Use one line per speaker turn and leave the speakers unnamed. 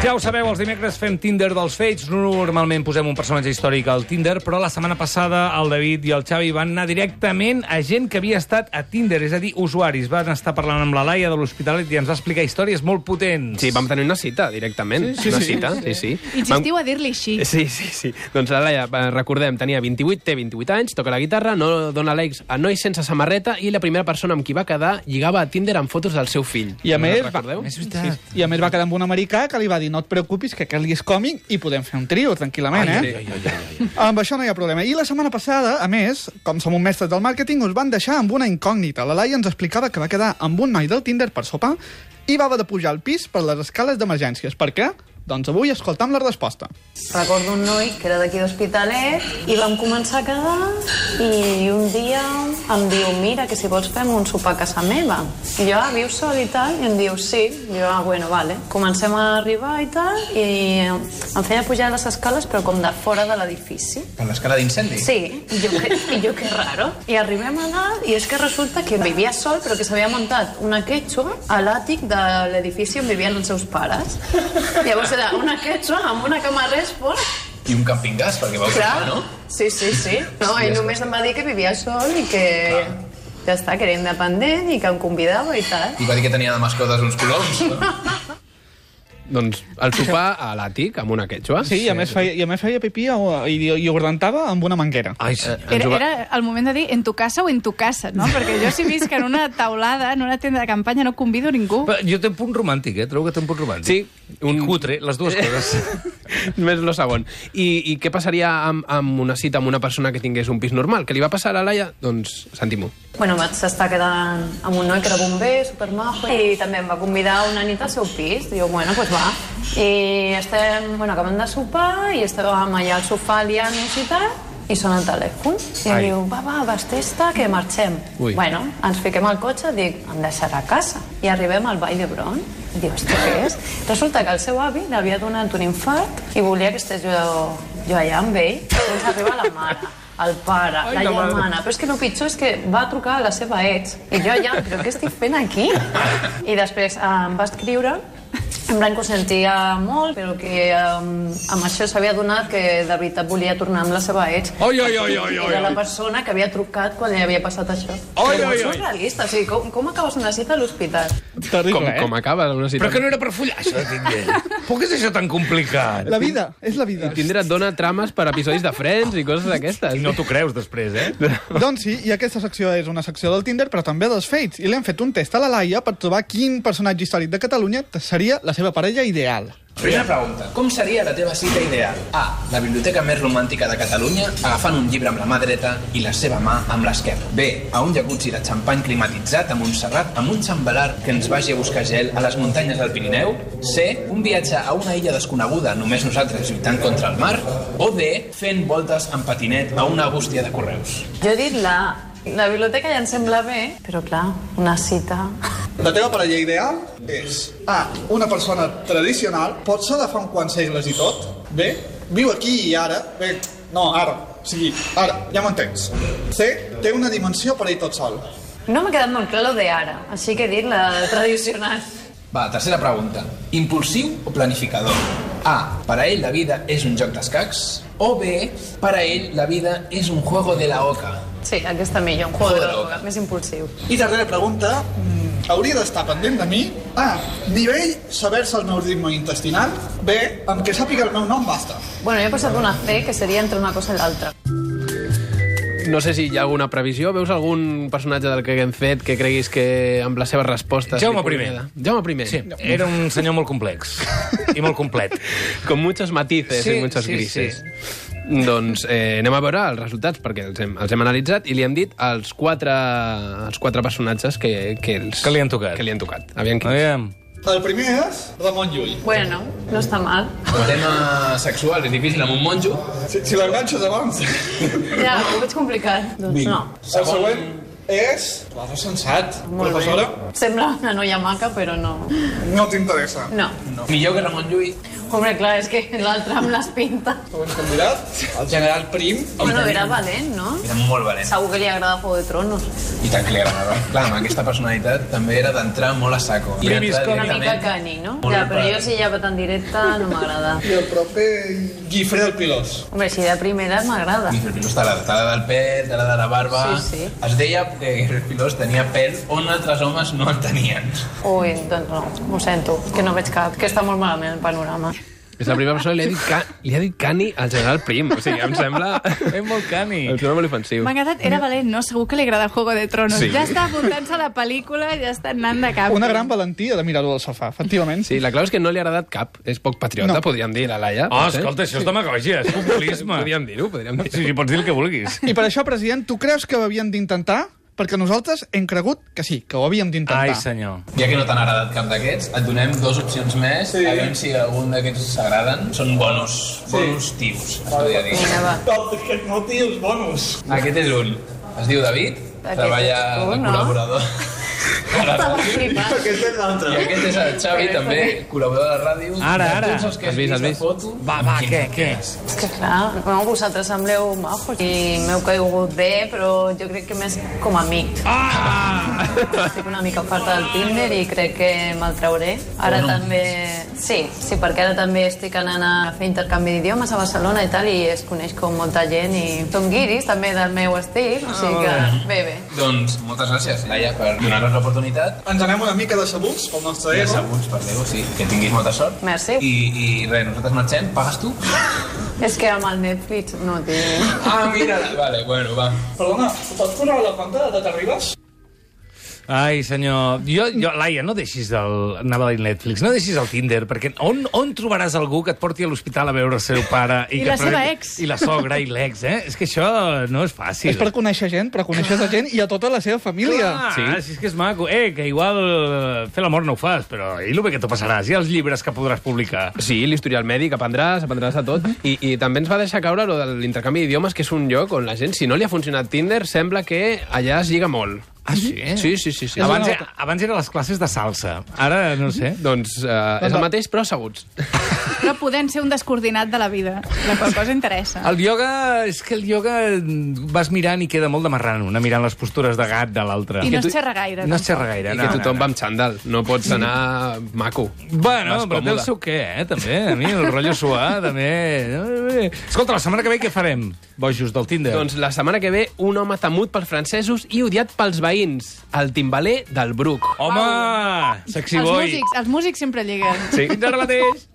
Ja ho sabeu, els dimecres fem Tinder dels fets. Normalment posem un personatge històric al Tinder, però la setmana passada el David i el Xavi van anar directament a gent que havia estat a Tinder, és a dir, usuaris. Van estar parlant amb la Laia de l'Hospitalet i ens va explicar històries molt potents.
Sí, vam tenir una cita, directament. Sí, sí, una cita, sí, sí.
Insistiu a dir-li així.
Sí, sí, sí. Doncs la Laia, eh, recordem, tenia 28, té 28 anys, toca la guitarra, no dona likes a nois sense samarreta i la primera persona amb qui va quedar lligava a Tinder amb fotos del seu fill.
I a
No
més,
us recordeu?
És veritat.
I a més va quedar amb un americà que li va dir no et preocupis, que Kelly és còmic i podem fer un trio tranquil·lament, eh?
Ai, ai, ai, ai, ai.
Amb això no hi ha problema. I la setmana passada, a més, com som un mestre del màrqueting, us van deixar amb una incògnita. La Laia ens explicava que va quedar amb un noi del Tinder per sopar i va haver de pujar al pis per les escales d'emergències. Per què? Doncs avui escoltam la resposta.
Recordo un noi que era d'aquí d'Hospitalet i vam començar a quedar i un dia em diu mira que si vols fem un sopar a casa meva. I jo, ah, vius sol i tal? I em diu sí. I jo, ah, bueno, vale. Comencem a arribar i tal i em feia pujar les escales però com de fora de l'edifici.
Ah,
Per l'escala d'incendi?
Sí, i jo, que, i jo que raro. I arribem a dalt i és que resulta que vivia sol però que s'havia muntat una quechua a l'àtic de l'edifici on vivien els seus pares. Llavors era una quechua amb una cama res fora.
I un camping gas, perquè vau
Clar,
comprar, no?
sí, sí, sí. No, ell només em va dir que vivia sol i que ja està, que era independent i que em convidava i tal.
I va dir que tenia de mascotes uns coloms. No?
Doncs el sopar a l'àtic amb una quechua.
Sí, i a més feia, i a més feia pipí o- i, i ordentava amb una manguera.
Ai, senyor.
Era,
Eh, va-
era el moment de dir en tu casa o en tu casa, no? Perquè jo si visc en una taulada, en una tenda de campanya, no convido ningú.
Però Jo té un punt romàntic, eh? Trobo que té un punt romàntic.
Sí,
Un...
un-
Cutre, les dues coses.
Més lo segon. I, i què passaria amb, amb una cita amb una persona que tingués un pis normal? Què li va passar a la Laia? Doncs sentim-ho.
Bueno, vaig estar quedant amb un noi que era bomber, supermajo, i també em va convidar una nit al seu pis. Diu, bueno, doncs va. I estem, bueno, acabem de sopar, i estàvem allà al sofà liant-nos i tal, i sona el telèfon. I
Ai.
Ai. diu, va, va, bastesta, que marxem.
Ui.
Bueno, ens fiquem al cotxe, dic, em deixarà a casa. I arribem al Vall d'Hebron. I diu, "Hosti, què és? Resulta que el seu avi l'havia donat un infart i volia que estés jo, jo allà amb ell. Doncs arriba la mare, el pare, Ai, la germana, Anna, però és que el pitjor és que va trucar a la seva ex. I jo ja, però què estic fent aquí? I després eh, em va escriure en plan que ho sentia molt, però que um, amb això s'havia donat que de veritat volia tornar amb la seva ex.
Oi, oi, oi, oi,
I
oi,
era la
oi.
persona que havia trucat quan li havia passat això.
Oi,
Però
oi,
això
oi.
és realista, o sigui, com, com acabes una cita a l'hospital?
Terrible,
Com,
eh?
com acaba una cita?
Però que no era per follar, això de Tinder. Per què és això tan complicat?
La vida, és la vida.
Tinder et dona trames per episodis de Friends i coses d'aquestes.
I no t'ho creus després, eh?
Doncs sí, i aquesta secció és una secció del Tinder, però també dels Fates, i li hem fet un test a la Laia per trobar quin personatge històric de Catalunya seria la seva parella ideal.
Primera pregunta. Com seria la teva cita ideal? A. La biblioteca més romàntica de Catalunya, agafant un llibre amb la mà dreta i la seva mà amb l'esquerra. B. A un jacuzzi de xampany climatitzat a Montserrat amb un xambalar que ens vagi a buscar gel a les muntanyes del Pirineu. C. Un viatge a una illa desconeguda, només nosaltres lluitant contra el mar. O D. Fent voltes en patinet a una bústia de correus.
Jo he dit la... La biblioteca ja em sembla bé, però clar, una cita...
La teva parella ideal és A. Una persona tradicional, pot ser de fa uns quants segles i tot. B. Viu aquí i ara. B. No, ara. O sigui, ara, ja m'entens. C. Té una dimensió per ell tot sol.
No m'ha quedat molt clar lo de ara, així que he dit la tradicional.
Va, tercera pregunta. Impulsiu o planificador? A. Para ell la vida és un joc d'escacs. O B. Para ell la vida és un juego de la oca.
Sí, aquesta millor, un juego de droga, més impulsiu.
I darrera pregunta, mm, hauria d'estar pendent de mi. A. Nivell, saber-se el meu ritme intestinal. B. Amb que sàpiga el meu nom, basta.
Bueno, jo he posat una C que seria entre una cosa i l'altra.
No sé si hi ha alguna previsió. Veus algun personatge del que hem fet que creguis que amb les seves respostes...
Jaume
li podria
I.
agradar? Jaume primer.
Sí, era un senyor molt complex. I molt complet.
Con muchos matices
Sí,
i muchos
sí,
grises. Doncs eh, anem a veure els resultats, perquè els hem, els hem analitzat i li hem dit els quatre, els quatre personatges que, que, els,
Que li han tocat.
Que li han tocat. Aviam qui...
Aviam.
El primer és Ramon Llull.
Bueno, no està mal.
El tema sexual és difícil amb un monjo.
Si, si l'enganxes abans.
Ja, ho veig complicat. Doncs no.
El següent eh, és... Claro, sensat.
Molt
Professora,
bé. Sembla una noia maca, però no.
no t'interessa.
No.
No. Millor que Ramon Llull.
Hombre, clar, és que l'altre amb les pintes.
Segons candidat, el general Prim...
Bueno, era valent, no?
Era molt valent.
Segur que li agrada Juego de Tronos.
I tant que li agradava. Clar, amb aquesta personalitat també era d'entrar molt a saco. I
Primis
entrar
con-
Una mica
directament-
cani, no?
Molt
Ja,
ben
però
parat.
jo si ja va tan directa no m'agrada.
I el proper Guifré el Pilós.
Hombre, si de primeres m'agrada.
Guillermo Pilós t'agrada, t'agrada el pèl, t'agrada la barba...
Sí, sí.
Es deia que Guillermo Pilós tenia pèl on altres homes no en tenien.
Ui, doncs no, ho sento, que no veig cap, que està molt malament el panorama.
És la primera persona que li ha dit, ca... li ha dit cani al general Prim. O sigui, em sembla...
És molt cani.
Em sembla molt ofensiu.
M'ha agradat, era valent, no? Segur que li agrada Juego de Tronos.
Sí.
Sí. Ja està apuntant-se a la pel·lícula, ja està anant de cap.
Una gran valentia de mirar-ho del sofà, efectivament.
Sí, la clau és que no li ha agradat cap. És poc patriota, no. podríem dir, la Laia.
Oh,
potser.
escolta, això és demagògia, és populisme.
Podríem dir-ho, podríem dir-ho.
Sí, sí, pots dir el que vulguis.
I per això, president, tu creus que ho havien d'intentar? Perquè nosaltres hem cregut que sí, que ho havíem
Ai,
d'intentar.
senyor.
Ja que no t'han agradat cap d'aquests, et donem dues opcions més, sí. a veure si algun d'aquests s'agraden. Són bonus, bonus tios, es podria dir.
Vinga, va.
Top d'aquest motí, els bonus.
Aquest és un. Es diu David,
Aquest
treballa
ets tu,
de
no?
col·laborador. a la
Estava
ràdio.
flipant.
Aquest és l'altre.
I aquest és el Xavi,
Però
també,
també.
col·laborador de la ràdio.
Ara,
De
ara.
Tots els que
Has
has
vist,
vist,
has vist?
la foto.
Va, va, què, què?
És que clar, no, vosaltres sembleu majos i m'heu caigut bé, però jo crec que més com a amic.
Ah!
Estic una mica farta del Tinder i crec que me'l trauré. Ara també... Sí, sí, perquè ara també estic anant a fer intercanvi d'idiomes a Barcelona i tal, i es coneix com molta gent i són guiris també del meu estil, o sigui que bé, bé.
Doncs moltes gràcies, Laia, per donar-nos l'oportunitat.
Ens anem una mica decebuts pel nostre
Ja
ego.
sabuts, per Déu, sí. Que tinguis molta sort.
Merci.
I, i res, nosaltres marxem. Pagues tu?
És que amb el Netflix no tinc...
Ah, mira. Vale, bueno, va.
Perdona, pots posar la pantalla de t'arribes?
Ai, senyor. Jo, jo, Laia, no deixis el... Anava a dir Netflix. No deixis el Tinder, perquè on, on trobaràs algú que et porti a l'hospital a veure el seu pare...
I
que
la
provi-
seva ex.
I la sogra i l'ex, eh? És que això no és fàcil.
És per conèixer gent, però conèixer la gent i a tota la seva família.
Clar,
Sí.
sí. si és que és maco. Eh, que igual eh, fer l'amor no ho fas, però i el bé que t'ho passaràs, i els llibres que podràs publicar.
Sí, l'historial mèdic, aprendràs, aprendràs a tot.
Mhm.
I, i també ens va deixar caure lo de l'intercanvi d'idiomes, que és un lloc on la gent, si no li ha funcionat Tinder, sembla que allà es lliga molt.
Ah, sí?
Sí, sí, sí. sí.
Abans, abans eren les classes de salsa. Ara, no ho sé.
Doncs eh, és el mateix, però asseguts.
Ah,
Però podent ser un descoordinat de la vida. La qual cosa interessa.
El ioga, és que el ioga mm, vas mirant i queda molt de marrano, anar mirant les postures de gat de l'altre.
I no es xerra gaire. doncs.
No es
tampoc.
xerra gaire,
I
no.
que tothom
no,
va amb xandall. No pots anar maco.
no. Bueno,
Vas
però té el
còmode.
seu què, eh, també. A mi el rotllo suar, també. Escolta, la setmana que ve què farem? Bojos del Tinder.
Doncs la setmana que ve, un home temut pels francesos i odiat pels veïns, el timbaler del Bruc.
Home! Sexy
Els
boy!
músics, els músics sempre lliguen.
Sí. Fins ara mateix!